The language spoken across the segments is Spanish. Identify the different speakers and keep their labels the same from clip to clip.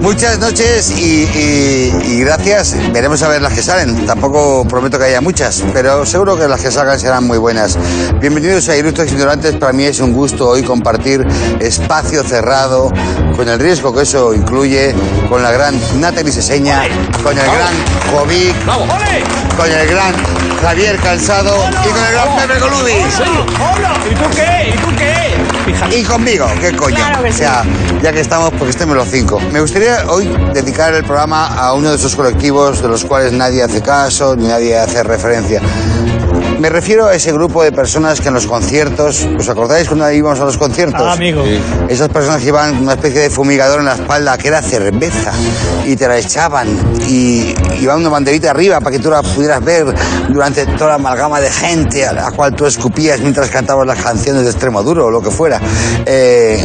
Speaker 1: muchas noches y, y- y gracias. Veremos a ver las que salen. Tampoco prometo que haya muchas, pero seguro que las que salgan serán muy buenas. Bienvenidos a Ilustres Ignorantes. Para mí es un gusto hoy compartir espacio cerrado con el riesgo que eso incluye, con la gran Natalie Seseña, con el gran Jovic, con el gran Javier Cansado y con el gran Pepe Golubis.
Speaker 2: ¿Y tú qué? ¿Y tú qué?
Speaker 1: Y conmigo, qué coño. o sea, ya que estamos, porque estemos los cinco. Me gustaría hoy dedicar el programa a uno de esos colectivos de los cuales nadie hace caso ni nadie hace referencia. Me refiero a ese grupo de personas que en los conciertos, ¿os acordáis cuando íbamos a los conciertos?
Speaker 2: Ah, amigo.
Speaker 1: Esas personas que llevaban una especie de fumigador en la espalda que era cerveza y te la echaban y iba una banderita arriba para que tú la pudieras ver durante toda la amalgama de gente a la cual tú escupías mientras cantabas las canciones de Extremo Duro o lo que fuera. Eh,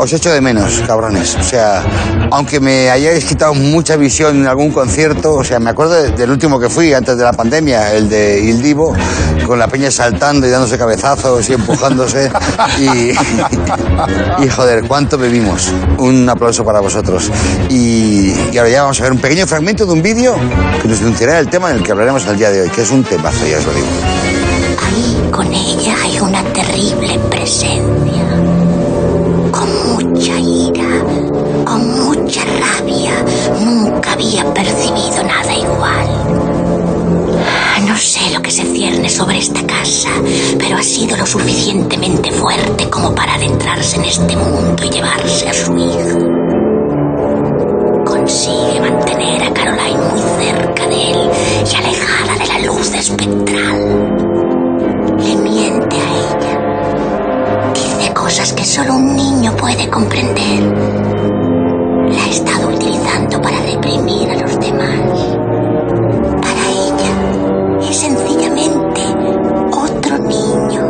Speaker 1: os echo de menos, cabrones. O sea, aunque me hayáis quitado mucha visión en algún concierto, o sea, me acuerdo de- del último que fui antes de la pandemia, el de Il Divo, con la peña saltando y dándose cabezazos y empujándose. Y, y, joder, cuánto bebimos. Un aplauso para vosotros. Y, y ahora ya vamos a ver un pequeño fragmento de un vídeo que nos denunciará el tema del que hablaremos el día de hoy, que es un temazo, ya os lo digo.
Speaker 3: Ahí con ella hay una terrible presencia, con mucha ira, con mucha rabia. Nunca había percibido nada igual. No sé lo que se cierne sobre esta casa, pero ha sido lo suficientemente fuerte como para adentrarse en este mundo y llevarse a su hija. Consigue mantener a Caroline muy cerca de él y alejarla de la luz espectral. Le miente a ella. Dice cosas que solo un niño puede comprender. La ha estado utilizando para reprimir a los demás. Para ella es sencillamente otro niño.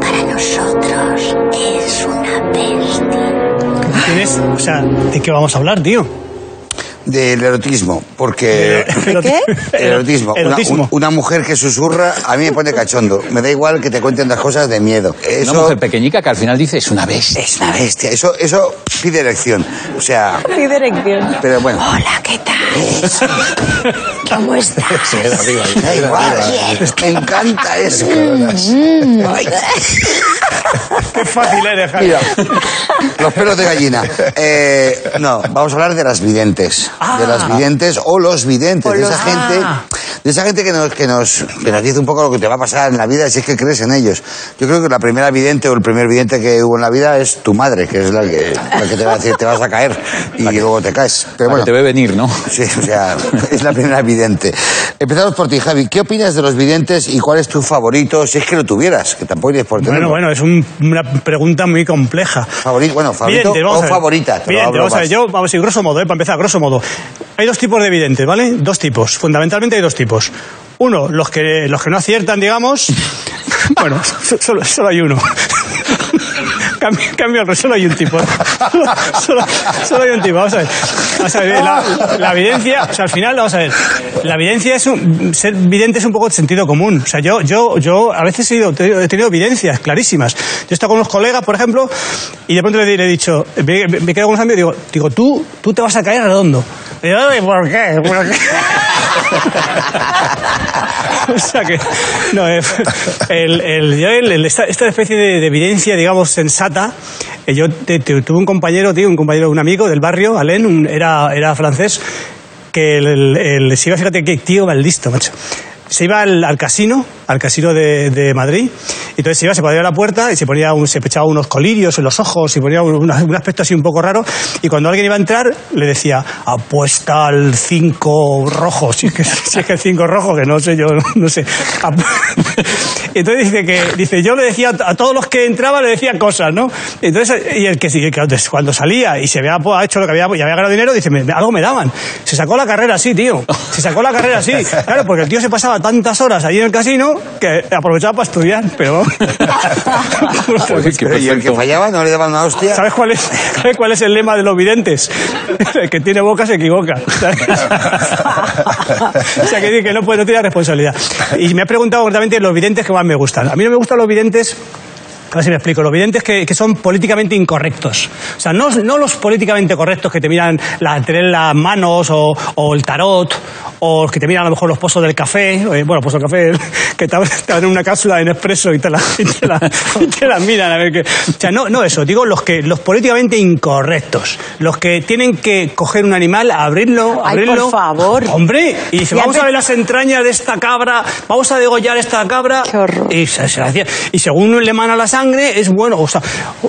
Speaker 3: Para nosotros es una bestia.
Speaker 2: ¿Tienes? O sea, ¿de qué vamos a hablar, tío?
Speaker 1: Del erotismo, porque...
Speaker 2: qué?
Speaker 1: El erotismo. Una-
Speaker 2: Erotismo.
Speaker 1: un- Una, mujer que susurra a mí me pone cachondo. Me da igual que te cuenten las cosas de miedo. Eso
Speaker 4: Una mujer pequeñica que al final dice es una bestia.
Speaker 1: es una bestia. Eso, eso pide elección. O sea,
Speaker 5: Mi dirección.
Speaker 1: pero bueno.
Speaker 3: Hola, ¿qué tal? ¿Cómo estás?
Speaker 1: Me da igual. Me encanta eso. Ay,
Speaker 2: Qué fácil eres, Javi.
Speaker 1: mira, los pelos de gallina. Eh, no, vamos a hablar de las videntes. De
Speaker 2: Ah.
Speaker 1: las videntes o los videntes. de esa gente. De esa gente que nos, que, nos, que nos dice un poco lo que te va a pasar en la vida, si es que crees en ellos. Yo creo que la primera vidente o el primer vidente que hubo en la vida es tu madre, que es la que, la que te va a decir te vas a caer y luego te caes. Pero bueno,
Speaker 4: Bueno. Te ve venir, ¿no?
Speaker 1: Sí, o sea, es la primera vidente. Empezamos por ti, Javi. ¿Qué opinas de los videntes y cuál es tu favorito? Si es que lo tuvieras, que tampoco tienes por tenerlo.
Speaker 2: Bueno, bueno, es un- una pregunta muy compleja.
Speaker 1: Favorito, bueno, favorito
Speaker 2: Vidente, vamos
Speaker 1: o
Speaker 2: a ver.
Speaker 1: favorita. te lo
Speaker 2: Vidente,
Speaker 1: hablo
Speaker 2: vamos a ver,
Speaker 1: más.
Speaker 2: yo, vamos a ir grosso modo, eh, para empezar, grosso modo. Hay dos tipos de videntes, ¿vale? Dos tipos, fundamentalmente hay dos tipos. Uno, los que, los que no aciertan, digamos. bueno, so- solo, solo hay uno. Cambio, cambio el re- solo hay un tipo. Solo, solo- solo hay un tipo, vamos a ver. Vamos a ver, la, la evidencia, o sea, al final, vamos a ver, la evidencia es un, ser vidente es un poco de sentido común. O sea, yo, yo, yo a veces he, ido- he tenido evidencias clarísimas. Yo he estado con unos colegas, por ejemplo, y de pronto le, di- le he dicho, me, me- me quedo con unos amigos y digo, digo, tú, tú te vas a caer redondo. Y yo, "Ay, ¿por qué? ¿Por qué? o sea que no, eh, el, el- yo el- el- esta, esta especie de, de evidencia digamos sensata eh, yo te- te- tuve un compañero tío un compañero un amigo del barrio Alain un- era, era francés que el, el- el- se iba fíjate qué tío mal listo macho se iba al, al casino, al casino de, de Madrid, y entonces se iba, se ponía a la puerta y se ponía un- se echaba unos colirios en los ojos, y ponía un, una- un aspecto así un poco raro, y cuando alguien iba a entrar le decía, apuesta al 5 rojo, si es que, si es que el 5 rojo, que no sé, yo no- no sé. Ap- Y entonces dice que, dice, yo le decía a todos los que entraban, le decía cosas, ¿no? Entonces, y el que sí, que antes, cuando salía y se había pues, ha hecho lo que había, y había ganado dinero, dice, "Me- algo me daban. Se sacó la carrera así, tío. Se sacó la carrera así. Claro, porque el tío se pasaba tantas horas ahí en el casino que aprovechaba para estudiar, pero...
Speaker 4: Joder, qué
Speaker 1: Pero y el Pues que
Speaker 4: perfecto.
Speaker 1: fallaba no le daban una hostia.
Speaker 2: ¿Sabes cuál, es, ¿Sabes cuál es el lema de los videntes? El que tiene boca se equivoca. ¿sabes? o sea, que, dice que no, puede, no tiene responsabilidad. Y me ha preguntado concretamente los videntes que más me gustan. A mí no me gustan los videntes a ver si me explico, los videntes que, que son políticamente incorrectos. O sea, no, no los políticamente correctos que te miran la, tener las manos o, o el tarot, o los que te miran a lo mejor los pozos del café, eh, bueno, pozos del café, que te, abren- te abren una cápsula en expreso y te la, y te la- y te la miran a ver qué. O sea, no, no eso, digo los que los políticamente incorrectos, los que tienen que coger un animal, abrirlo,
Speaker 5: Ay, por
Speaker 2: abrirlo.
Speaker 5: favor.
Speaker 2: Hombre, y dice,
Speaker 5: Y
Speaker 2: vamos
Speaker 5: antes-
Speaker 2: a ver las entrañas de esta cabra, vamos a degollar esta cabra.
Speaker 5: Qué horror.
Speaker 2: Y, se- se la hacía. Y según le mana la sangre, es bueno. O sea,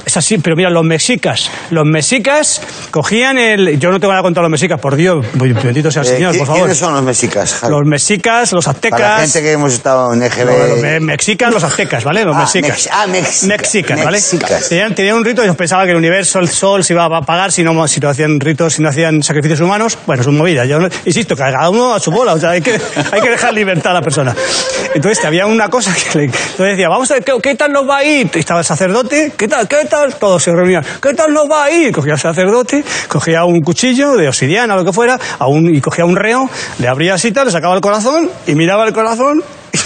Speaker 2: es así, pero mira, los mexicas. Los mexicas cogían el. Yo no te voy a contar los mexicas, por Dios, bendito sea el
Speaker 1: Eh,
Speaker 2: Señor,
Speaker 1: ¿qui-
Speaker 2: por favor.
Speaker 1: ¿Quiénes son los mexicas, Javi?
Speaker 2: Los mexicas, los aztecas.
Speaker 1: Para la gente que hemos estado en EGB.
Speaker 2: Los me- mexicas, los aztecas, ¿vale? Los
Speaker 1: Ah,
Speaker 2: mexicas.
Speaker 1: mex- ah, mexica-
Speaker 2: Mexicas, ¿vale?
Speaker 1: mexicas.
Speaker 2: Tenían, tenían un rito, ellos pensaban que el universo, el sol, se iba a apagar si no, si no hacían ritos, si no hacían sacrificios humanos. Bueno, es un movida. Yo no- insisto, que cada uno a su bola. O sea, hay que, hay que dejar libertad a la persona. Entonces, había una cosa que le. Entonces decía, vamos a ver, ¿qué, qué tal nos va a ir? Y estaba el sacerdote, ¿qué tal? ¿Qué tal? Todos se reunían, ¿qué tal nos va a ir? Cogía el sacerdote, cogía un cuchillo de obsidiana o lo que fuera, a un- y cogía un reo, le abría así tal, le sacaba el corazón y miraba el corazón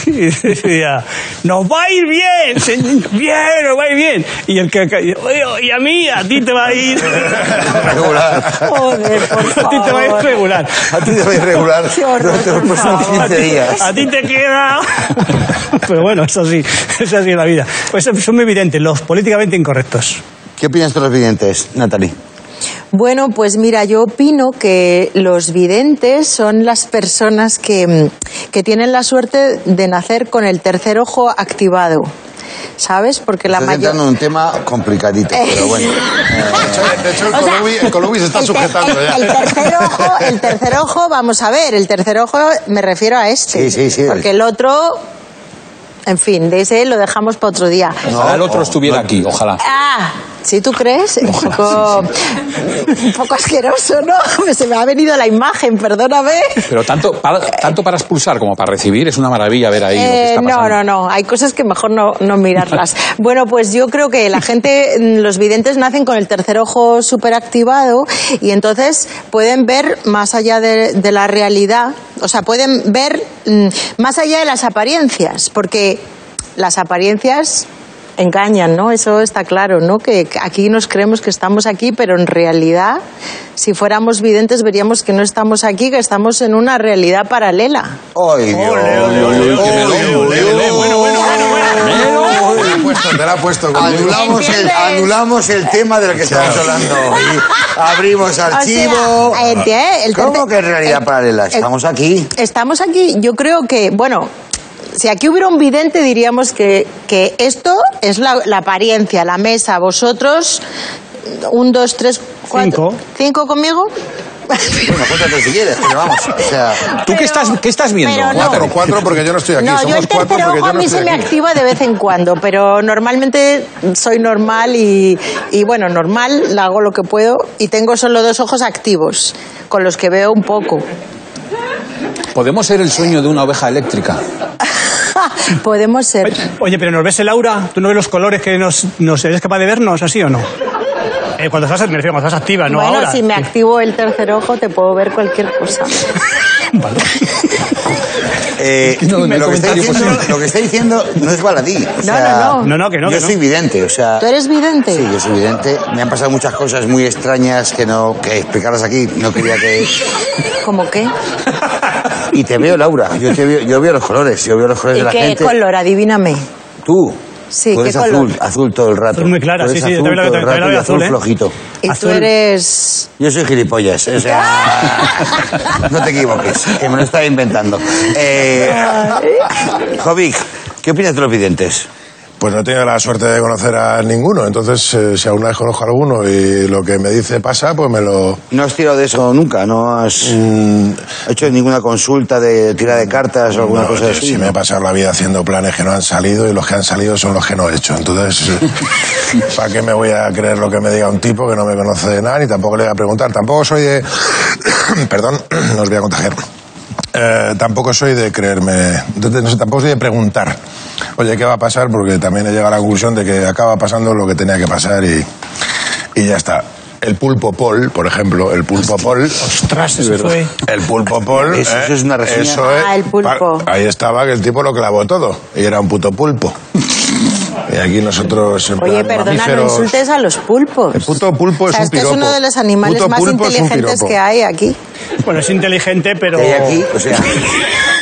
Speaker 2: y decía, nos va a ir bien, señor, bien, nos va a ir bien. Y el que, que- oye, y a mí, a ti te va a ir.
Speaker 1: Regular.
Speaker 5: Joder, por
Speaker 2: A ti te va a ir
Speaker 5: favor.
Speaker 2: regular. Ah,
Speaker 1: A ti te va a ir regular.
Speaker 5: Qué horror,
Speaker 1: durante los
Speaker 5: por
Speaker 1: próximos
Speaker 5: favor.
Speaker 1: 15 días.
Speaker 2: A ti te queda. Pero bueno, es así, es así la vida. Pues son muy evidentes, los políticamente incorrectos.
Speaker 1: ¿Qué opinas de los videntes, Natalie?
Speaker 5: Bueno, pues mira, yo opino que los videntes son las personas que, mm, que tienen la suerte de nacer con el tercer ojo activado. ¿Sabes? Porque la
Speaker 1: Estás
Speaker 5: mayor...
Speaker 1: entrando en un tema complicadito, pero bueno. Eh,
Speaker 6: De hecho, el
Speaker 5: O sea,
Speaker 6: Colubi, el Colubi se está
Speaker 5: el ter-
Speaker 6: sujetando
Speaker 5: el-
Speaker 6: ya.
Speaker 5: El tercer ojo, el tercer ojo, vamos a ver, el tercer ojo me refiero a este.
Speaker 1: Sí, sí, sí.
Speaker 5: Porque el otro, en fin, de ese lo dejamos para otro día.
Speaker 4: Ojalá el otro
Speaker 1: No,
Speaker 4: estuviera
Speaker 1: no.
Speaker 4: aquí, ojalá.
Speaker 5: Ah, si tú crees, un poco, un poco asqueroso, ¿no? Se me ha venido la imagen, perdóname.
Speaker 4: Pero tanto para, tanto para expulsar como para recibir es una maravilla ver ahí lo que
Speaker 5: Eh,
Speaker 4: está
Speaker 5: no,
Speaker 4: pasando.
Speaker 5: no, no. Hay cosas que mejor no, no mirarlas. bueno, pues yo creo que la gente, mm, los videntes nacen con el tercer ojo superactivado y entonces pueden ver más allá de, de la realidad. O sea, pueden ver mm, más allá de las apariencias, porque las apariencias engañan, ¿no? Eso está claro, ¿no? Que que aquí nos creemos que estamos aquí, pero en realidad, si fuéramos videntes, veríamos que no estamos aquí, que estamos en una realidad paralela.
Speaker 1: ¡Ay, Dios!
Speaker 4: Bueno, bueno, bueno,
Speaker 6: Te la ha puesto, te la ha puesto. Colubi.
Speaker 1: Anulamos el,
Speaker 5: ¿Entiendes?
Speaker 1: anulamos el tema del que estamos hablando hoy. Abrimos
Speaker 5: O sea,
Speaker 1: archivo.
Speaker 5: enti- el
Speaker 1: ¿Cómo
Speaker 5: tercer-
Speaker 1: que en realidad
Speaker 5: el-
Speaker 1: paralela?
Speaker 5: el-
Speaker 1: Estamos aquí.
Speaker 5: Estamos aquí, yo creo que, bueno, si aquí hubiera un vidente diríamos que, que esto es la, la apariencia, la mesa, vosotros, un, dos, tres, cuatro,
Speaker 2: Cinco.
Speaker 5: cinco conmigo.
Speaker 1: Bueno, cuéntate si quieres, pero vamos. O sea,
Speaker 4: ¿Tú qué
Speaker 5: Pero-
Speaker 4: estás, qué estás viendo?
Speaker 5: pero no.
Speaker 6: Cuatro, cuatro, porque yo no estoy aquí.
Speaker 5: No, yo
Speaker 6: Somos
Speaker 5: el
Speaker 6: cuatro
Speaker 5: tercer
Speaker 6: porque
Speaker 5: ojo
Speaker 6: yo
Speaker 5: a
Speaker 6: no
Speaker 5: mí se
Speaker 6: estoy
Speaker 5: me
Speaker 6: aquí.
Speaker 5: activa de vez en cuando, pero normalmente soy normal y, y, bueno, normal, la hago lo que puedo y tengo solo dos ojos activos, con los que veo un poco.
Speaker 4: Podemos ser el sueño de una oveja eléctrica.
Speaker 5: Podemos ser.
Speaker 2: Oye, pero ¿nos ves el aura? ¿Tú no ves los colores que nos, nos eres capaz de vernos así o no? Eh, cuando estás, me refiero, cuando estás activa, Ah, no
Speaker 5: bueno,
Speaker 2: ahora.
Speaker 5: si me activo el tercer ojo te puedo ver cualquier cosa.
Speaker 1: eh,
Speaker 4: No, no hay
Speaker 1: lo, que está
Speaker 4: comentario
Speaker 1: diciendo,
Speaker 4: posible.
Speaker 1: lo que está diciendo no es baladí. O sea,
Speaker 5: no, no.
Speaker 2: No, no, que no,
Speaker 1: Yo
Speaker 2: que no.
Speaker 1: soy vidente, o sea.
Speaker 5: ¿Tú eres vidente?
Speaker 1: Sí, yo soy vidente. Me han pasado muchas cosas muy extrañas que no que explicarlas aquí. No quería que.
Speaker 5: ¿Cómo qué?
Speaker 1: Y te veo, Laura. Yo te veo, yo veo los colores. Yo veo los colores
Speaker 6: Pues
Speaker 5: ¿Y
Speaker 1: de la
Speaker 5: qué
Speaker 1: gente.
Speaker 5: color? Adivíname.
Speaker 1: Tú.
Speaker 5: Sí,
Speaker 1: tú eres
Speaker 5: ¿qué
Speaker 1: azul,
Speaker 5: color?
Speaker 1: azul todo el rato.
Speaker 2: Azul muy clara,
Speaker 1: Tú eres
Speaker 2: sí, sí, yo
Speaker 1: azul
Speaker 2: también la-
Speaker 1: todo el
Speaker 2: también la
Speaker 1: rato y
Speaker 2: veo
Speaker 1: azul
Speaker 2: azul, ¿eh?
Speaker 1: flojito.
Speaker 5: Y
Speaker 2: Azul.
Speaker 5: tú eres...
Speaker 1: Yo soy gilipollas, o sea, no te equivoques, que me lo estaba inventando. Eh, Jovic, ¿qué opinas de los videntes?
Speaker 6: Pues no he tenido la suerte de conocer a ninguno. Entonces, eh, si alguna vez conozco a alguno y lo que me dice pasa, pues me lo.
Speaker 1: No has tirado de eso nunca, no has
Speaker 6: Mm,
Speaker 1: hecho ninguna consulta de tirada de cartas o alguna
Speaker 6: no,
Speaker 1: cosa
Speaker 6: yo
Speaker 1: así.
Speaker 6: sí
Speaker 1: ¿no?
Speaker 6: me he pasado la vida haciendo planes que no han salido y los que han salido son los que no he hecho. Entonces, eh, ¿para qué me voy a creer lo que me diga un tipo que no me conoce de nada ni tampoco le voy a preguntar? Tampoco soy de. Perdón, no os voy a contagiar. Eh, tampoco soy de creerme, de- de- no sé, tampoco soy de preguntar, oye, ¿qué va a pasar? Porque también he llegado a la conclusión de que acaba pasando lo que tenía que pasar y, y ya está. El pulpo Paul, por ejemplo, el pulpo Paul,
Speaker 2: Ostras, eso fue.
Speaker 6: el pulpo Paul. ¿eh?
Speaker 1: Eso- eso es una reseña.
Speaker 6: eso es-
Speaker 5: Ah, el pulpo.
Speaker 6: pa- Ahí estaba que el tipo lo clavó todo. Y era un puto pulpo. Y Y aquí nosotros... en
Speaker 5: Oye,
Speaker 6: plan,
Speaker 5: perdona, no
Speaker 6: mamíferos-
Speaker 5: insultes a los pulpos.
Speaker 6: El puto pulpo
Speaker 5: O sea,
Speaker 6: es un
Speaker 5: este
Speaker 6: piropo.
Speaker 5: es uno de los animales
Speaker 6: Puto
Speaker 5: más
Speaker 6: pulpo es un
Speaker 5: inteligentes
Speaker 6: piropo.
Speaker 5: que hay aquí.
Speaker 2: Bueno, es inteligente, pero...
Speaker 1: que hay aquí, o sea,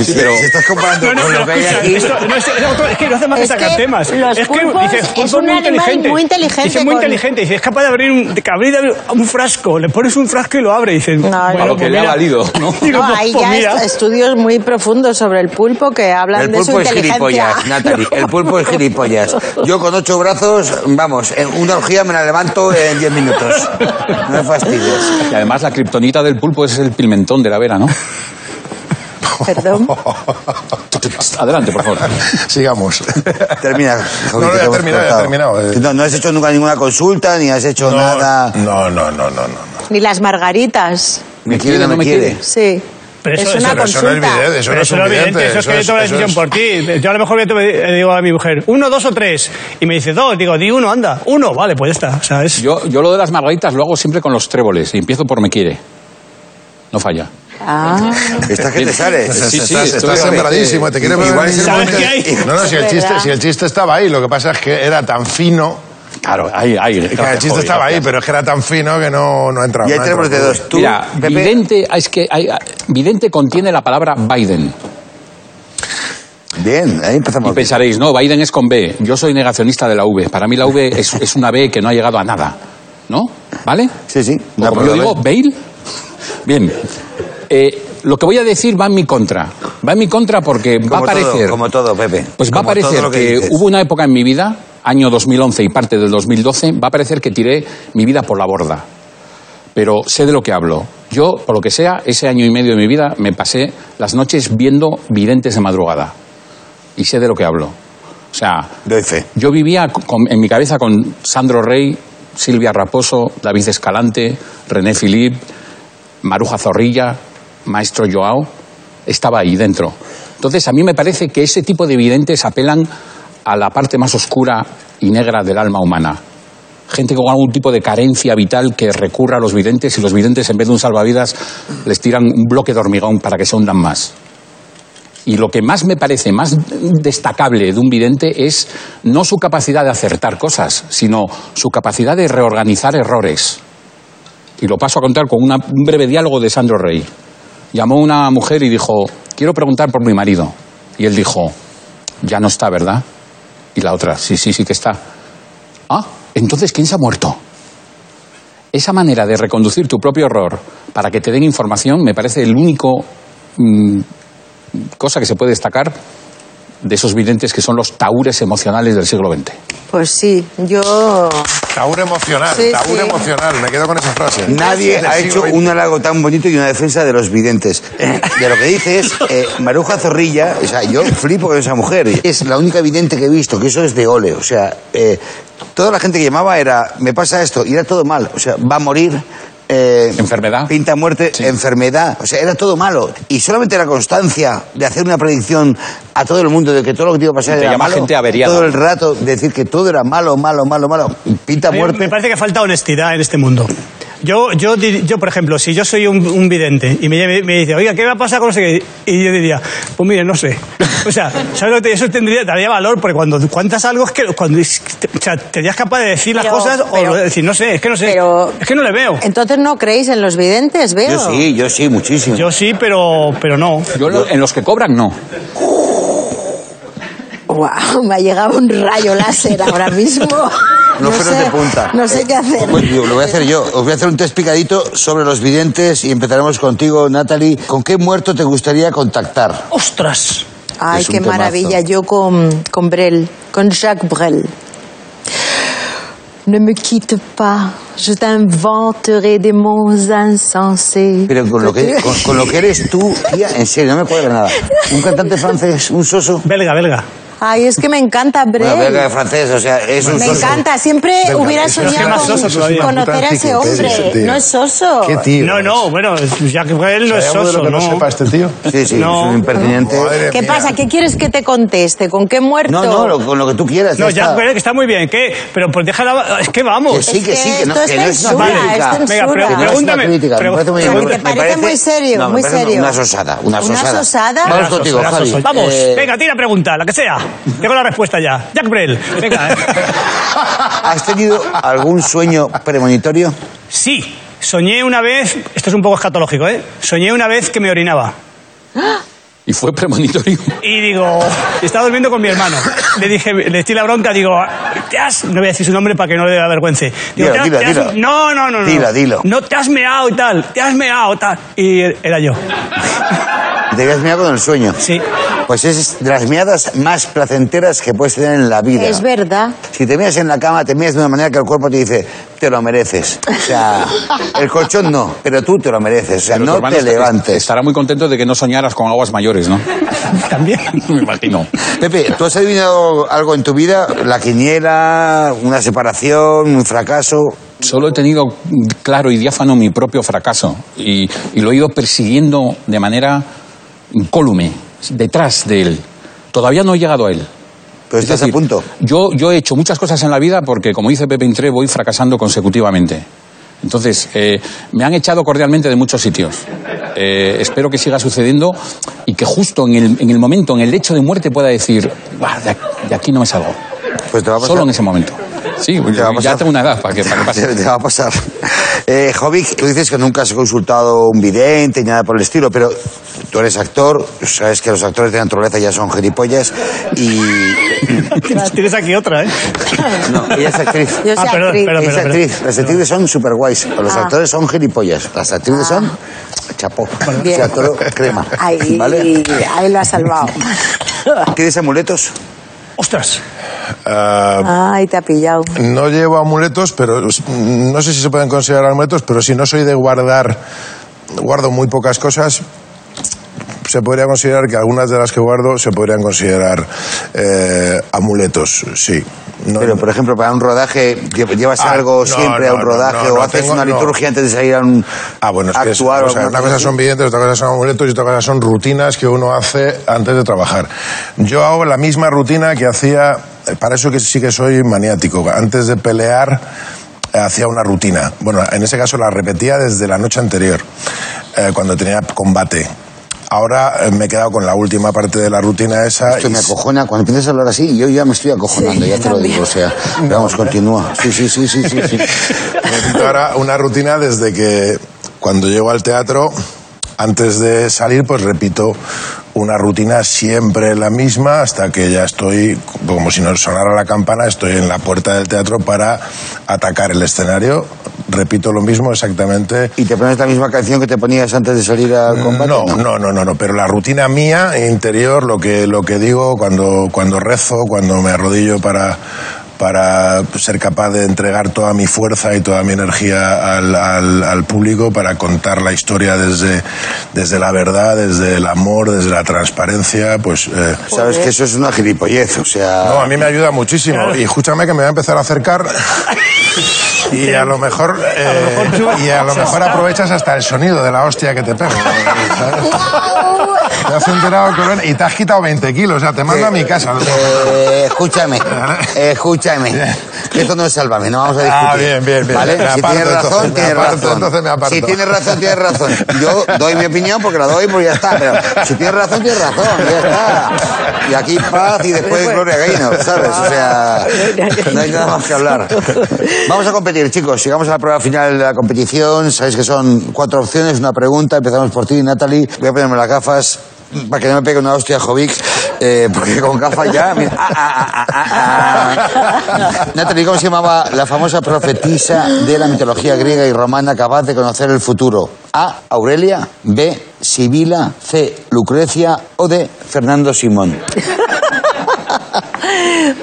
Speaker 1: si,
Speaker 4: pero-
Speaker 1: si estás comparando
Speaker 2: No, no,
Speaker 1: con lo que hay
Speaker 2: escucha,
Speaker 1: aquí,
Speaker 2: esto- no, es, es otro- es que no hace más que
Speaker 5: Es que
Speaker 2: sacar temas.
Speaker 5: los
Speaker 2: es que
Speaker 5: pulpos es
Speaker 2: pulpo
Speaker 5: un animal muy inteligente
Speaker 2: Dice muy
Speaker 5: con-
Speaker 2: inteligente. Dice, es capaz de abrir, un, de abrir un frasco. Le pones un frasco y lo abre. Dice,
Speaker 5: No, no.
Speaker 4: A lo que le ha valido, ¿no?
Speaker 2: Digo,
Speaker 5: No,
Speaker 2: pues,
Speaker 5: hay
Speaker 2: pues
Speaker 5: ya
Speaker 2: mira.
Speaker 5: est- estudios muy profundos sobre el pulpo que hablan
Speaker 1: el
Speaker 5: de su
Speaker 1: pulpo es
Speaker 5: inteligencia.
Speaker 1: gilipollas, Natalie, el pulpo es gilipollas. Yo con ocho brazos, vamos, en una orgía me la levanto en diez minutos. No me fastidies.
Speaker 4: Y además la kriptonita del pulpo es el pimentón de la vera, ¿no?
Speaker 5: Perdón.
Speaker 4: Adelante, por favor.
Speaker 6: Sigamos.
Speaker 1: Termina. Javi,
Speaker 6: No, no,
Speaker 1: que
Speaker 6: ya
Speaker 1: te
Speaker 6: he
Speaker 1: hemos
Speaker 6: terminado, ya he
Speaker 1: cortado.
Speaker 6: terminado, eh.
Speaker 1: No, no has hecho nunca ninguna consulta, ni has hecho nada.
Speaker 6: No, no, no, no, no.
Speaker 5: Ni las margaritas.
Speaker 1: Me quiere, no me quiere.
Speaker 5: Sí.
Speaker 2: Pero eso-
Speaker 5: es una
Speaker 2: eso-
Speaker 6: Pero eso no es
Speaker 5: consulta.
Speaker 6: evidente, eso
Speaker 2: Pero
Speaker 6: no es
Speaker 2: eso no es evidente, eso
Speaker 6: evidente.
Speaker 2: es que yo tomo la decisión por ti. Yo a lo mejor le te- le digo a mi mujer, uno, dos o tres. Y me dice dos, digo, di uno, anda. Uno, vale, pues ya está. O sea, es-
Speaker 4: Yo, yo lo de las margaritas lo hago siempre con los tréboles y empiezo por me quiere. No falla.
Speaker 5: Ah.
Speaker 1: Esta gente sale.
Speaker 6: Estás-
Speaker 4: Sí, sí,
Speaker 6: estás
Speaker 4: estoy-
Speaker 6: estás sembradísimo, te quiere
Speaker 1: Igual es el
Speaker 2: ¿Sabes
Speaker 1: momento-
Speaker 2: qué hay?
Speaker 6: No, no, si el,
Speaker 5: Es
Speaker 6: chiste,
Speaker 5: verdad.
Speaker 6: si el chiste estaba ahí, lo que pasa es que era tan fino.
Speaker 4: Claro, ahí, ahí.
Speaker 6: que
Speaker 4: gracias,
Speaker 6: el chiste
Speaker 4: Javi,
Speaker 6: estaba ahí,
Speaker 4: gracias.
Speaker 6: pero es que era tan fino que no, no entraba.
Speaker 1: Y ahí
Speaker 6: no
Speaker 1: tenemos de
Speaker 6: entraba.
Speaker 1: dos. Tú,
Speaker 4: Mira,
Speaker 1: Pepe,
Speaker 4: vidente, ah, es que hay- vidente contiene la palabra Biden.
Speaker 1: Bien, ahí
Speaker 4: Y
Speaker 1: empezamos.
Speaker 4: pensaréis, no, Biden es con B. Yo soy negacionista de la V. Para mí la V es, es una B que no ha llegado a nada. ¿No? ¿Vale?
Speaker 1: Sí, sí.
Speaker 4: O
Speaker 1: No,
Speaker 4: como
Speaker 1: pero
Speaker 4: yo
Speaker 1: a
Speaker 4: digo, Bale. Bien. Eh, lo que voy a decir va en mi contra. Va en mi contra porque va a
Speaker 1: Como todo,
Speaker 4: parecer...
Speaker 1: como todo, Pepe.
Speaker 4: Pues va a
Speaker 1: Como todo
Speaker 4: parecer
Speaker 1: lo que
Speaker 4: que,
Speaker 1: dices.
Speaker 4: hubo una época en mi vida, año 2011 y parte del 2012, va a parecer que tiré mi vida por la borda. Pero sé de lo que hablo. Yo, por lo que sea, ese año y medio de mi vida me pasé las noches viendo videntes de madrugada. Y sé de lo que hablo. O sea,
Speaker 1: Doy fe.
Speaker 4: yo vivía con- en mi cabeza con Sandro Rey, Silvia Raposo, David Escalante, René Philippe, Maruja Zorrilla, Maestro Joao. Estaba ahí dentro. Entonces, a mí me parece que ese tipo de videntes apelan a la parte más oscura y negra del alma humana. Gente con algún tipo de carencia vital que recurra a los videntes y los videntes, en vez de un salvavidas, les tiran un bloque de hormigón para que se hundan más. Y lo que más me parece más destacable de un vidente es no su capacidad de acertar cosas, sino su capacidad de reorganizar errores. Y lo paso a contar con una- un breve diálogo de Sandro Rey. Llamó una mujer y dijo, quiero preguntar por mi marido. Y él dijo, ya no está, ¿verdad? Y la otra, sí, sí, sí que está. Ah, entonces, ¿quién se ha muerto? Esa manera de reconducir tu propio error para que te den información me parece el único mm, cosa que se puede destacar de esos videntes que son los taures emocionales del siglo XX.
Speaker 5: Pues sí, yo.
Speaker 6: Taur emocional,
Speaker 5: Sí,
Speaker 6: taur
Speaker 5: sí.
Speaker 6: emocional. Me quedo con esa frase.
Speaker 1: Nadie
Speaker 6: Del
Speaker 1: ha
Speaker 6: siglo
Speaker 1: hecho
Speaker 6: XX.
Speaker 1: un halago tan bonito y una defensa de los videntes. De lo que dices, eh, Maruja Zorrilla, o sea, yo flipo con esa mujer. Es la única vidente que he visto, que eso es de ole. O sea, eh, toda la gente que llamaba era, me pasa esto, y era todo mal. O sea, va a morir. eh,
Speaker 4: Enfermedad.
Speaker 1: Pinta muerte, enfermedad. O sea, era todo malo. Y solamente la constancia de hacer una predicción a todo el mundo de que todo lo que te iba a pasar
Speaker 4: Y te
Speaker 1: era
Speaker 4: llama
Speaker 1: malo.
Speaker 4: gente averiada.
Speaker 1: Todo el rato decir que todo era malo, malo, malo, malo. Pinta
Speaker 2: a mí
Speaker 1: muerte.
Speaker 2: me parece que falta honestidad en este mundo. Yo, yo, dir- yo por ejemplo, si yo soy un, un vidente y me, llama- me dice, oiga, ¿qué va a pasar con no sé qué? Y yo diría, pues mire, no sé. O sea, ¿sabes lo que te- Eso tendría, daría valor, porque cuando cuentas algo es que cuando, es- te- o sea, te eres capaz de decir las
Speaker 5: Pero-
Speaker 2: cosas o
Speaker 5: pero-
Speaker 2: lo- decir, no sé, es que no sé,
Speaker 5: Pero-
Speaker 2: es que no le veo.
Speaker 5: Entonces no creéis en los videntes, veo.
Speaker 1: Yo sí, yo sí, muchísimo.
Speaker 2: Yo sí, pero, pero no.
Speaker 4: Yo lo- en los que cobran, no.
Speaker 5: Guau, me ha llegado un rayo láser ahora mismo.
Speaker 1: No frenos
Speaker 5: sé-
Speaker 1: de punta.
Speaker 5: No sé qué hacer.
Speaker 1: Pues, digo, lo voy a hacer yo. Os voy a hacer un test picadito sobre los videntes y empezaremos contigo, Natalie. ¿Con qué muerto te gustaría contactar?
Speaker 2: ¡Ostras!
Speaker 5: Ay,
Speaker 1: Es un
Speaker 5: qué
Speaker 1: temazo.
Speaker 5: maravilla. Yo con, con Brel, con Jacques Brel. Ne me quitte pas, je t'inventerai des mots insensés.
Speaker 1: Pero con lo que, con, con lo que eres tú, tía, en serio, no me cuadra nada. Un cantante francés, un soso.
Speaker 2: Belga, belga.
Speaker 5: Ay, es que me encanta Brel.
Speaker 1: Bueno, belga francés, o sea, es un
Speaker 5: me
Speaker 1: soso.
Speaker 5: encanta, siempre
Speaker 6: Venga,
Speaker 5: hubiera
Speaker 6: eso es
Speaker 5: soñado
Speaker 2: más
Speaker 5: con
Speaker 2: soso todavía.
Speaker 5: conocer a ese hombre.
Speaker 6: Sí, sí, tío.
Speaker 5: no es soso.
Speaker 6: Qué tío.
Speaker 2: No, no, bueno, Jacques Brel no
Speaker 6: ¿Hay
Speaker 2: es
Speaker 6: algo pues, de
Speaker 2: soso,
Speaker 6: lo que no sepa este tío?
Speaker 1: Sí, sí,
Speaker 2: No.
Speaker 1: es un impertinente.
Speaker 6: Madre
Speaker 5: ¿Qué
Speaker 6: mía.
Speaker 5: pasa? ¿Qué quieres que te conteste? ¿Con qué muerto?
Speaker 1: No, no, lo- con lo que tú quieras.
Speaker 2: No,
Speaker 1: ya está.
Speaker 2: Jacques Brel, que está muy bien, ¿qué? Pero pues déjala, es que vamos.
Speaker 1: Que sí, que
Speaker 5: Es
Speaker 1: sí,
Speaker 5: que
Speaker 1: que no,
Speaker 5: esto
Speaker 1: que
Speaker 5: es
Speaker 1: no es una
Speaker 5: censura,
Speaker 1: crítica.
Speaker 5: es censura.
Speaker 1: Que no es una
Speaker 2: Pregúntame,
Speaker 1: crítica, me
Speaker 2: pregu-
Speaker 1: parece
Speaker 2: O sea,
Speaker 1: muy aburrido.
Speaker 5: que te parece muy serio,
Speaker 1: no, me
Speaker 5: muy
Speaker 1: parece
Speaker 5: serio.
Speaker 1: Una sosada, una
Speaker 5: ¿Una
Speaker 1: sosada.
Speaker 5: sosada?
Speaker 1: Vamos
Speaker 2: Era soso,
Speaker 1: contigo,
Speaker 2: era
Speaker 1: Javi.
Speaker 2: soso. Vamos,
Speaker 1: Eh,
Speaker 2: venga, tira pregunta, la que sea. Tengo la respuesta ya. Jack Brel. Venga. eh.
Speaker 1: ¿Has tenido algún sueño premonitorio?
Speaker 2: Sí, soñé una vez, esto es un poco escatológico, ¿eh? Soñé una vez que me orinaba.
Speaker 4: Y fue premonitorio.
Speaker 2: Y digo, estaba durmiendo con mi hermano. Le dije, le eché la bronca, digo, te has, no voy a decir su nombre para que no le avergüence. Digo,
Speaker 1: Dilo,
Speaker 2: te has-
Speaker 1: dilo,
Speaker 2: te has-
Speaker 1: dilo.
Speaker 2: No, no, no, no.
Speaker 1: Dilo, dilo.
Speaker 2: No te has meado y tal, te has meado y tal. Y er, era yo.
Speaker 1: ¿Te habías meado con el sueño?
Speaker 2: Sí.
Speaker 1: Pues es de las meadas más placenteras que puedes tener en la vida.
Speaker 5: Es verdad.
Speaker 1: Si te miras en la cama, te miras de una manera que el cuerpo te dice, te lo mereces. O sea, el colchón no, pero tú te lo mereces. O sea,
Speaker 4: Pero tu
Speaker 1: no
Speaker 4: hermano
Speaker 1: te
Speaker 4: está-
Speaker 1: levantes.
Speaker 4: Estará muy contento de que no soñaras con aguas mayores, ¿no?
Speaker 2: También.
Speaker 4: Me imagino.
Speaker 1: Pepe, ¿tú has adivinado algo en tu vida? ¿La quiniela? ¿Una separación? ¿Un fracaso?
Speaker 4: Solo he tenido claro y diáfano mi propio fracaso y, y lo he ido persiguiendo de manera incólume, detrás de él. Todavía no he llegado a él.
Speaker 1: Pero
Speaker 4: Es
Speaker 1: estás a
Speaker 4: decir,
Speaker 1: punto.
Speaker 4: Yo, yo he hecho muchas cosas en la vida porque, como dice Pepe Intré, voy fracasando consecutivamente. Entonces, eh, me han echado cordialmente de muchos sitios. Eh, espero que siga sucediendo y que justo en el, en el momento, en el hecho de muerte, pueda decir, "Buah, de, aquí- de aquí no me salgo.
Speaker 1: Pues te va a pasar.
Speaker 4: Solo en ese momento. Sí,
Speaker 1: Te va a
Speaker 4: ya
Speaker 1: pasar.
Speaker 4: tengo una edad para que, para que
Speaker 1: Te,
Speaker 4: pase.
Speaker 1: te va a pasar. Eh, Jovic, tú dices que nunca has consultado un vidente ni nada por el estilo, pero tú eres actor, sabes que los actores de naturaleza ya son gilipollas y...
Speaker 2: Tienes- Tienes aquí otra, ¿eh?
Speaker 1: No, ella es actriz.
Speaker 5: Yo
Speaker 2: Ah,
Speaker 5: soy
Speaker 2: perdón,
Speaker 5: actriz.
Speaker 2: perdón,
Speaker 1: Ella es
Speaker 2: perdón.
Speaker 1: actriz. Las actrices son super guays, pero los
Speaker 5: Ah.
Speaker 1: actores son gilipollas. Las actrices son chapó.
Speaker 5: Bien.
Speaker 1: Se actoró crema.
Speaker 5: Ahí,
Speaker 1: ¿Vale?
Speaker 5: ahí lo ha salvado.
Speaker 1: ¿Tienes amuletos?
Speaker 2: Ostras.
Speaker 6: Ah,
Speaker 5: Ay, te ha pillado.
Speaker 6: No llevo amuletos, pero s- no sé si se pueden considerar amuletos, pero si no soy de guardar, guardo muy pocas cosas. Se podría considerar que algunas de las que guardo se podrían considerar eh, amuletos, sí. No-
Speaker 1: Pero, por ejemplo, para un rodaje, lle- ¿llevas
Speaker 6: Ah,
Speaker 1: algo
Speaker 6: no,
Speaker 1: siempre a un
Speaker 6: no, no,
Speaker 1: rodaje
Speaker 6: no,
Speaker 1: o
Speaker 6: no
Speaker 1: haces
Speaker 6: tengo-
Speaker 1: una
Speaker 6: no.
Speaker 1: liturgia antes de salir a un
Speaker 6: Ah, bueno, es que es-
Speaker 1: actuar? o
Speaker 6: o sea,
Speaker 1: alguna
Speaker 6: una cosa
Speaker 1: cosa
Speaker 6: son
Speaker 1: así?
Speaker 6: billetes, otra cosa son amuletos y otra cosa son rutinas que uno hace antes de trabajar. Yo hago la misma rutina que hacía, para eso que sí que soy maniático, antes de pelear eh, hacía una rutina. Bueno, en ese caso la repetía desde la noche anterior, eh, cuando tenía combate. Ahora eh, me he quedado con la última parte de la rutina esa.
Speaker 1: Esto
Speaker 6: y
Speaker 1: me
Speaker 6: s-
Speaker 1: acojona. Cuando empiezas a hablar así, yo ya me estoy acojonando,
Speaker 5: Sí,
Speaker 1: ya te lo
Speaker 5: también.
Speaker 1: digo. O sea, vamos, continúa. Sí, sí, sí, sí, sí. sí.
Speaker 6: Repito ahora una rutina desde que cuando llego al teatro, antes de salir, pues repito una rutina siempre la misma hasta que ya estoy, como si no sonara la campana, estoy en la puerta del teatro para atacar el escenario. Repito lo mismo exactamente.
Speaker 1: ¿Y te pones la misma canción que te ponías antes de salir al combate?
Speaker 6: Mm, No, no, no, no, no, pero la rutina mía interior, lo que, lo que digo cuando, cuando rezo, cuando me arrodillo para, para ser capaz de entregar toda mi fuerza y toda mi energía al, al- al público para contar la historia desde, desde la verdad, desde el amor, desde la transparencia, pues... eh,
Speaker 1: Sabes que eso es una gilipollez, o
Speaker 6: no, a
Speaker 1: sea...
Speaker 6: mí me ayuda muchísimo. Y escúchame que me voy a empezar a acercar. Y a lo mejor, eh, y a lo mejor aprovechas hasta el sonido de la hostia que te pego. ¿sabes? Te has enterado, cabrón, y te has quitado 20 kilos. O sea, te mando a mi casa.
Speaker 1: Eh, escúchame, eh, escúchame. Que esto no es sálvame, no vamos a discutir.
Speaker 6: Ah, bien, bien, bien.
Speaker 1: ¿Vale?
Speaker 6: Me
Speaker 1: si
Speaker 6: aparto,
Speaker 1: tienes razón,
Speaker 6: entonces, me
Speaker 1: tienes
Speaker 6: aparto,
Speaker 1: razón.
Speaker 6: entonces me aparto.
Speaker 1: Si tienes razón, tienes razón. Yo doy mi opinión porque la doy porque ya está. Pero si tienes razón, tienes razón, ya está. Y aquí paz y después Gloria Gaynor, ¿sabes? O sea, no hay nada más que hablar. Vamos a competir, chicos. Llegamos a la prueba final de la competición. Sabéis que son cuatro opciones, una pregunta. Empezamos por ti, Natalie. Voy a ponerme las gafas. Para que no me pegue una hostia Jovic, eh, porque con gafas ya. mira, ah, ah, ah, ah, ah. Natalie, ¿cómo se llamaba la famosa profetisa de la mitología griega y romana capaz de conocer el futuro? A. Aurelia, B. Sibila, C. Lucrecia o D. Fernando Simón.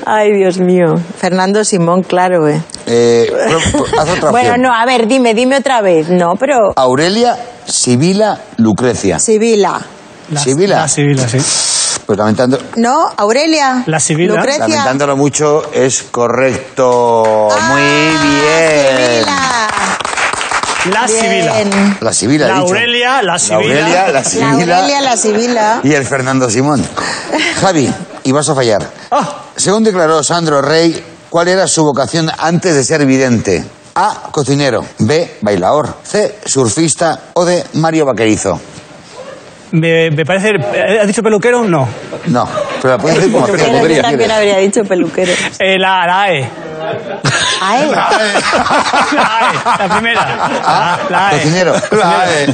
Speaker 5: Ay, Dios mío. Fernando Simón, claro, eh.
Speaker 1: Eh, pro- pro- haz otra
Speaker 5: Bueno,
Speaker 1: opción.
Speaker 5: no, a ver, dime, dime otra vez. No, pero.
Speaker 1: Aurelia, Sibila, Lucrecia.
Speaker 5: Sibila.
Speaker 2: La-
Speaker 1: ¿Sibila?
Speaker 2: La Sibila, sí.
Speaker 1: Pues lamentando,
Speaker 5: ¿No? ¿Aurelia?
Speaker 2: La Sibila.
Speaker 5: ¿Lucrecia?
Speaker 1: lamentándolo mucho, es correcto. Muy bien.
Speaker 5: Ah,
Speaker 2: La
Speaker 5: Sibila.
Speaker 2: Ah, Sibila.
Speaker 5: Bien.
Speaker 1: La Sibila, he
Speaker 2: La
Speaker 1: dicho.
Speaker 2: Aurelia, la Sibila.
Speaker 1: Aurelia, la
Speaker 5: La
Speaker 1: Sibila.
Speaker 5: Aurelia, la Sibila.
Speaker 1: Y el Fernando Simón. Javi, y vas a fallar.
Speaker 2: Ah.
Speaker 1: Según declaró Sandro Rey, ¿cuál era su vocación antes de ser vidente? A. Cocinero. B. Bailador. C. Surfista. O D. Mario Vaquerizo.
Speaker 2: Me, me parece. ¿Has dicho peluquero? No.
Speaker 1: No. Pero la puedes decir como
Speaker 5: Yo
Speaker 1: actriz,
Speaker 5: creo que
Speaker 1: podría,
Speaker 5: también
Speaker 1: quieres.
Speaker 5: habría dicho peluquero.
Speaker 2: Eh, la, la E.
Speaker 5: A él.
Speaker 2: La E, la primera. La, la E.
Speaker 1: Ah, Cocinero.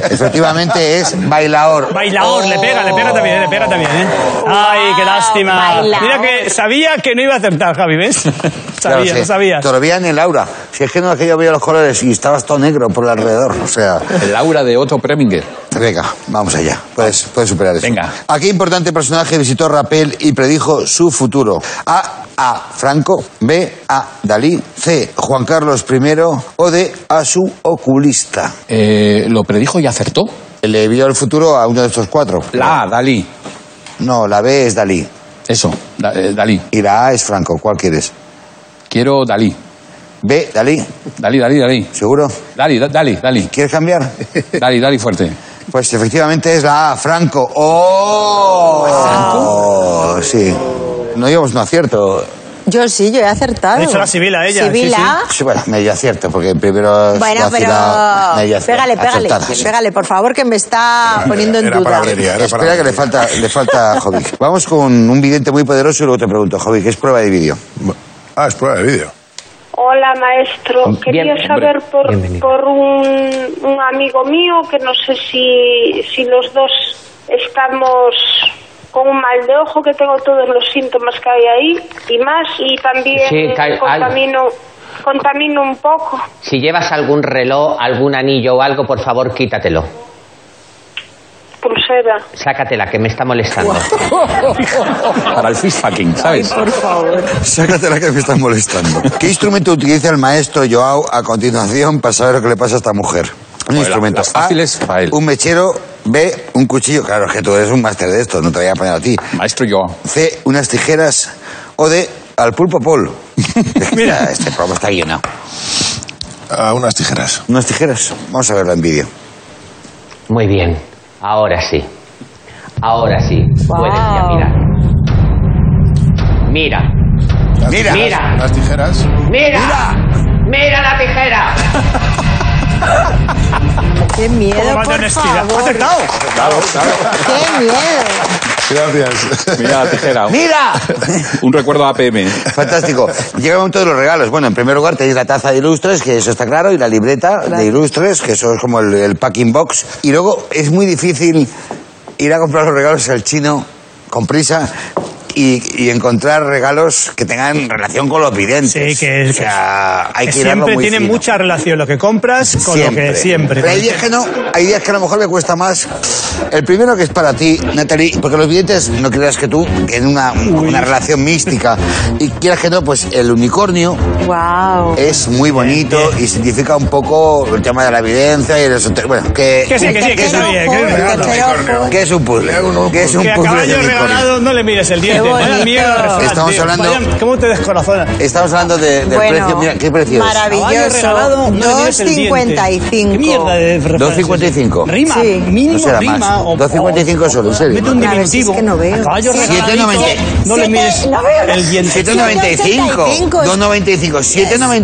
Speaker 1: Efectivamente es bailador.
Speaker 2: Bailador, le pega, le
Speaker 1: Oh.
Speaker 2: pega también, eh, le pega también, ¿eh? Ay, qué lástima.
Speaker 5: Bailaor.
Speaker 2: Mira que sabía que no iba a acertar, Javi, ¿ves?
Speaker 1: Claro,
Speaker 2: Sabía,
Speaker 1: sí.
Speaker 2: lo sabías.
Speaker 1: Todavía en el aura. Si es que no es que yo veía los colores y estabas todo negro por alrededor. O sea,
Speaker 4: El aura de Otto Preminger.
Speaker 1: venga, vamos allá. Puedes, puedes superar eso.
Speaker 4: Venga.
Speaker 1: ¿A qué importante personaje visitó Rapel y predijo su futuro? A. A. Franco. B. A. Dalí. C. Juan Carlos I. O D. A su oculista.
Speaker 4: Eh, ¿Lo predijo y acertó?
Speaker 1: Le vio el futuro a uno de estos cuatro.
Speaker 4: La A, Dalí.
Speaker 1: No, la B es Dalí.
Speaker 4: Eso, Da- eh, Dalí.
Speaker 1: Y la A es Franco. ¿Cuál quieres?
Speaker 4: Quiero Dalí.
Speaker 1: B. Dalí.
Speaker 4: Dalí, Dalí, Dalí.
Speaker 1: ¿Seguro?
Speaker 4: Dalí, da- Dalí, Dalí.
Speaker 1: ¿Quieres cambiar?
Speaker 4: Dalí, Dalí fuerte.
Speaker 1: Pues efectivamente es la A, Franco. ¡Oh! ¿Franco? Sí. No llevamos un acierto.
Speaker 5: Yo sí, yo he acertado.
Speaker 2: Ha dicho la Sibila, ella, sí,
Speaker 5: Sibila.
Speaker 1: Sí, bueno, medio acierto, porque primero...
Speaker 5: Bueno,
Speaker 1: Suárez
Speaker 5: pero
Speaker 1: era medio
Speaker 5: pégale, pégale,
Speaker 1: acertada, sí.
Speaker 5: pégale, por favor, que me está poniendo en
Speaker 6: era
Speaker 5: duda.
Speaker 6: palabrería. Era
Speaker 1: Espera
Speaker 6: para-
Speaker 1: que le falta, le falta Jovic. Vamos con un vidente muy poderoso y luego te pregunto, Jovic, es prueba de vídeo.
Speaker 6: Ah, es prueba de vídeo.
Speaker 7: Hola, maestro. Quería saber por, por un, un amigo mío que no sé si, si los dos estamos con un mal de ojo, que tengo todos los síntomas que hay ahí y más, y también
Speaker 8: Sí, que hay algo.
Speaker 7: contamino, contamino un poco.
Speaker 8: Si llevas algún reloj, algún anillo o algo, por favor, quítatelo.
Speaker 7: Pulsera.
Speaker 8: Sácatela, que me está molestando.
Speaker 4: Para el fish fucking, ¿sabes?
Speaker 1: Sácatela que me estás molestando. ¿Qué instrumento utiliza el maestro Joao a continuación para saber lo que le pasa a esta mujer? Un
Speaker 4: Joder,
Speaker 1: instrumento.
Speaker 4: las fáciles
Speaker 1: A,
Speaker 4: para él.
Speaker 1: Un mechero. B, un cuchillo. Claro, es que tú eres un máster de esto, no te voy a poner a ti.
Speaker 4: Maestro Joao.
Speaker 1: C, unas tijeras. O D, al pulpo Paul. Mira, este programa está guionado.
Speaker 6: A unas tijeras.
Speaker 1: Unas tijeras. Vamos a verlo en vídeo.
Speaker 8: Muy bien. Ahora sí. Ahora sí.
Speaker 5: Wow.
Speaker 8: Puedes ya mirar. Mira.
Speaker 6: Las
Speaker 1: Mira.
Speaker 6: tijeras.
Speaker 8: Mira.
Speaker 6: Las tijeras.
Speaker 8: Mira. Mira la tijera.
Speaker 5: Qué miedo,
Speaker 2: Falta
Speaker 5: por
Speaker 2: honestidad.
Speaker 5: favor.
Speaker 2: Ha acertado.
Speaker 5: Qué miedo.
Speaker 6: Gracias.
Speaker 4: Mira la tijera.
Speaker 1: ¡Mira!
Speaker 4: Un recuerdo a APM.
Speaker 1: Fantástico. Llega el momento de los regalos. Bueno, en primer lugar tenéis la taza de ilustres, que eso está claro, y la libreta de ilustres, que eso es como el, el packing box. Y luego es muy difícil ir a comprar los regalos al chino con prisa y, y encontrar regalos que tengan relación con los videntes.
Speaker 2: Sí, que-
Speaker 1: O sea, hay
Speaker 2: Que
Speaker 1: que, hilarlo
Speaker 2: siempre
Speaker 1: muy
Speaker 2: tiene
Speaker 1: fino.
Speaker 2: mucha relación lo que compras con lo que siempre.
Speaker 1: Pero hay días que no, hay días que a lo mejor me cuesta más. El primero que es para ti, Natalie, porque los videntes, no creas que tú, que en una, una relación mística, y quieras que no, pues el unicornio
Speaker 5: Wow.
Speaker 1: es muy bonito y significa un poco el tema de la evidencia y el esoter- Bueno, que,
Speaker 2: Que sí, que sí, que está bien, que es un regalo.
Speaker 1: que es un puzzle. Que es un
Speaker 2: Que a
Speaker 1: puzzle de
Speaker 2: caballo
Speaker 1: unicornio.
Speaker 2: regalado no le mires el diente.
Speaker 5: Qué
Speaker 2: Vaya
Speaker 5: bonito.
Speaker 2: mierda refrán,
Speaker 1: Estamos
Speaker 2: tío.
Speaker 1: hablando-
Speaker 2: Vaya- ¿Cómo te descorazona?
Speaker 1: Estamos hablando de, del
Speaker 5: Bueno,
Speaker 1: precio. Mira, ¿qué precio es?
Speaker 2: Caballo
Speaker 5: Maravilloso.
Speaker 2: regalado, no le mires el diente. ¿Qué mierda de
Speaker 5: 2.55.
Speaker 2: refrán es ese?
Speaker 1: 2,55.
Speaker 2: Rima,
Speaker 5: Sí.
Speaker 1: No
Speaker 2: mínimo
Speaker 1: será
Speaker 2: rima.
Speaker 1: más.
Speaker 2: o-
Speaker 1: 2,55
Speaker 2: o-
Speaker 1: solo, en serio.
Speaker 2: Mete un
Speaker 5: A ver, si es
Speaker 2: diminutivo.
Speaker 5: que no veo.
Speaker 2: A caballo
Speaker 1: 7,90.
Speaker 2: regalado, no le mires
Speaker 5: No veo nada.
Speaker 2: el diente.
Speaker 1: 7,95. 2,95.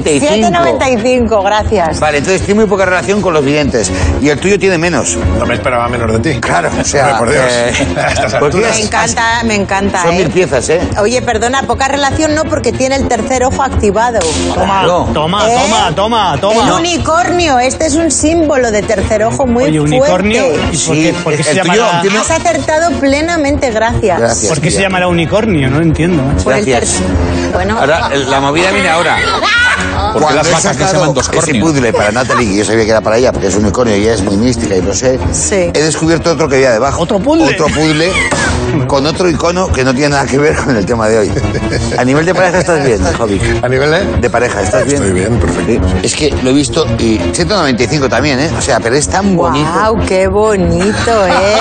Speaker 1: 7,95.
Speaker 5: 7.95, gracias.
Speaker 1: Vale, entonces tiene muy poca relación con los videntes. Y el tuyo tiene menos.
Speaker 6: No me esperaba menos de ti.
Speaker 1: Claro, o sea.
Speaker 6: Hombre, por Dios.
Speaker 1: eh,
Speaker 6: A estas
Speaker 1: porque
Speaker 6: alturas.
Speaker 5: Me encanta, me encanta.
Speaker 1: Son
Speaker 5: eh.
Speaker 1: mil piezas, ¿eh?
Speaker 5: Oye, perdona, poca relación no porque tiene el tercer ojo activado.
Speaker 2: Toma,
Speaker 1: Claro.
Speaker 2: toma,
Speaker 5: ¿Eh?
Speaker 2: toma, toma,
Speaker 5: El
Speaker 2: toma.
Speaker 5: unicornio, este es un símbolo de tercer ojo muy
Speaker 2: Oye,
Speaker 5: fuerte.
Speaker 2: unicornio. ¿Y por
Speaker 1: Sí,
Speaker 2: qué, por qué se
Speaker 1: el tuyo
Speaker 2: llamará,
Speaker 1: tiene-
Speaker 5: Has acertado plenamente, gracias.
Speaker 1: Gracias.
Speaker 2: por qué se
Speaker 1: tía.
Speaker 2: llamará unicornio? No lo entiendo. macho.
Speaker 5: Por el Ah.
Speaker 1: Gracias.
Speaker 5: tercer- Bueno,
Speaker 1: Ahora, la movida viene ahora.
Speaker 4: Porque las vacas que se llaman dos
Speaker 1: ese
Speaker 4: cornios.
Speaker 1: puzzle para Natalie, que yo sabía que era para ella, porque es un unicornio y ella es muy mística y lo sé,
Speaker 5: Sí.
Speaker 1: he descubierto otro que había debajo.
Speaker 2: ¿Otro puzzle?
Speaker 1: Otro puzzle con otro icono que no tiene nada que ver con el tema de hoy. A nivel de pareja estás bien, Jovic.
Speaker 6: A nivel de...
Speaker 1: De pareja, ¿estás bien?
Speaker 6: Estoy bien, perfecto.
Speaker 1: Sí. Es que lo he visto y 195 también, ¿eh? O sea, pero es tan bonito.
Speaker 5: wow, qué bonito, ¿eh?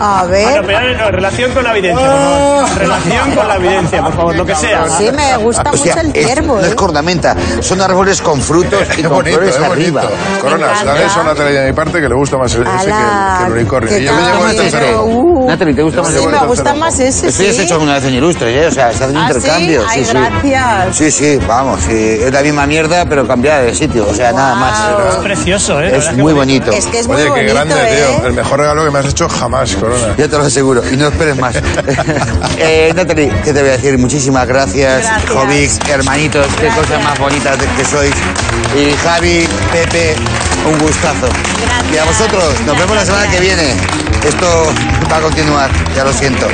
Speaker 5: A
Speaker 2: Bueno,
Speaker 5: ver,
Speaker 2: pero eh, no, relación con la evidencia, por favor. Relación con la evidencia, por favor, lo que sea.
Speaker 5: Ah. sí, me gusta
Speaker 1: Ah, O sea,
Speaker 5: mucho el
Speaker 1: es-
Speaker 5: ciervo,
Speaker 1: no
Speaker 5: ¿eh?
Speaker 1: es cornamenta, son árboles con frutos y
Speaker 6: Qué
Speaker 1: con
Speaker 6: bonito,
Speaker 1: flores
Speaker 6: qué bonito.
Speaker 1: arriba.
Speaker 6: Corona,
Speaker 5: Me
Speaker 6: la
Speaker 5: encanta.
Speaker 6: beso a Natalia de mi parte que le gusta más el- ese que,
Speaker 5: Ala,
Speaker 6: que el unicornio.
Speaker 5: qué
Speaker 6: Y yo me llevo el
Speaker 5: caballero.
Speaker 6: tercero.
Speaker 1: tercero.
Speaker 5: Uh,
Speaker 9: Natalie, ¿te gusta más
Speaker 5: sí,
Speaker 9: el
Speaker 5: me
Speaker 9: tercero?
Speaker 5: gusta más ese,
Speaker 1: Esto
Speaker 5: sí.
Speaker 1: ya se ha hecho alguna vez en Ilustres, ¿eh? O sea, se hacen
Speaker 5: ¿Ah, sí?
Speaker 1: intercambios.
Speaker 5: Ay,
Speaker 1: sí,
Speaker 5: gracias.
Speaker 1: Sí, sí, vamos. sí. Es la misma mierda, pero cambiada de sitio. O sea, nada
Speaker 5: Guau.
Speaker 1: más.
Speaker 2: Es precioso, ¿eh? La verdad
Speaker 1: Es
Speaker 2: que
Speaker 1: muy bonito.
Speaker 5: Es que es muy
Speaker 6: Oye,
Speaker 5: bonito,
Speaker 6: qué grande,
Speaker 5: ¿eh?
Speaker 6: tío. El mejor regalo que me has hecho jamás, Corona.
Speaker 1: Ya te lo aseguro, y no esperes más. eh, Natalie, ¿qué te voy a decir? Muchísimas gracias,
Speaker 5: Gracias.
Speaker 1: Jovic, hermanitos, qué
Speaker 5: Gracias.
Speaker 1: cosas más bonitas de- que sois. Y Javi, Pepe, un gustazo.
Speaker 5: Gracias.
Speaker 1: Y a vosotros, nos vemos la semana que viene. Esto va a continuar, ya lo siento.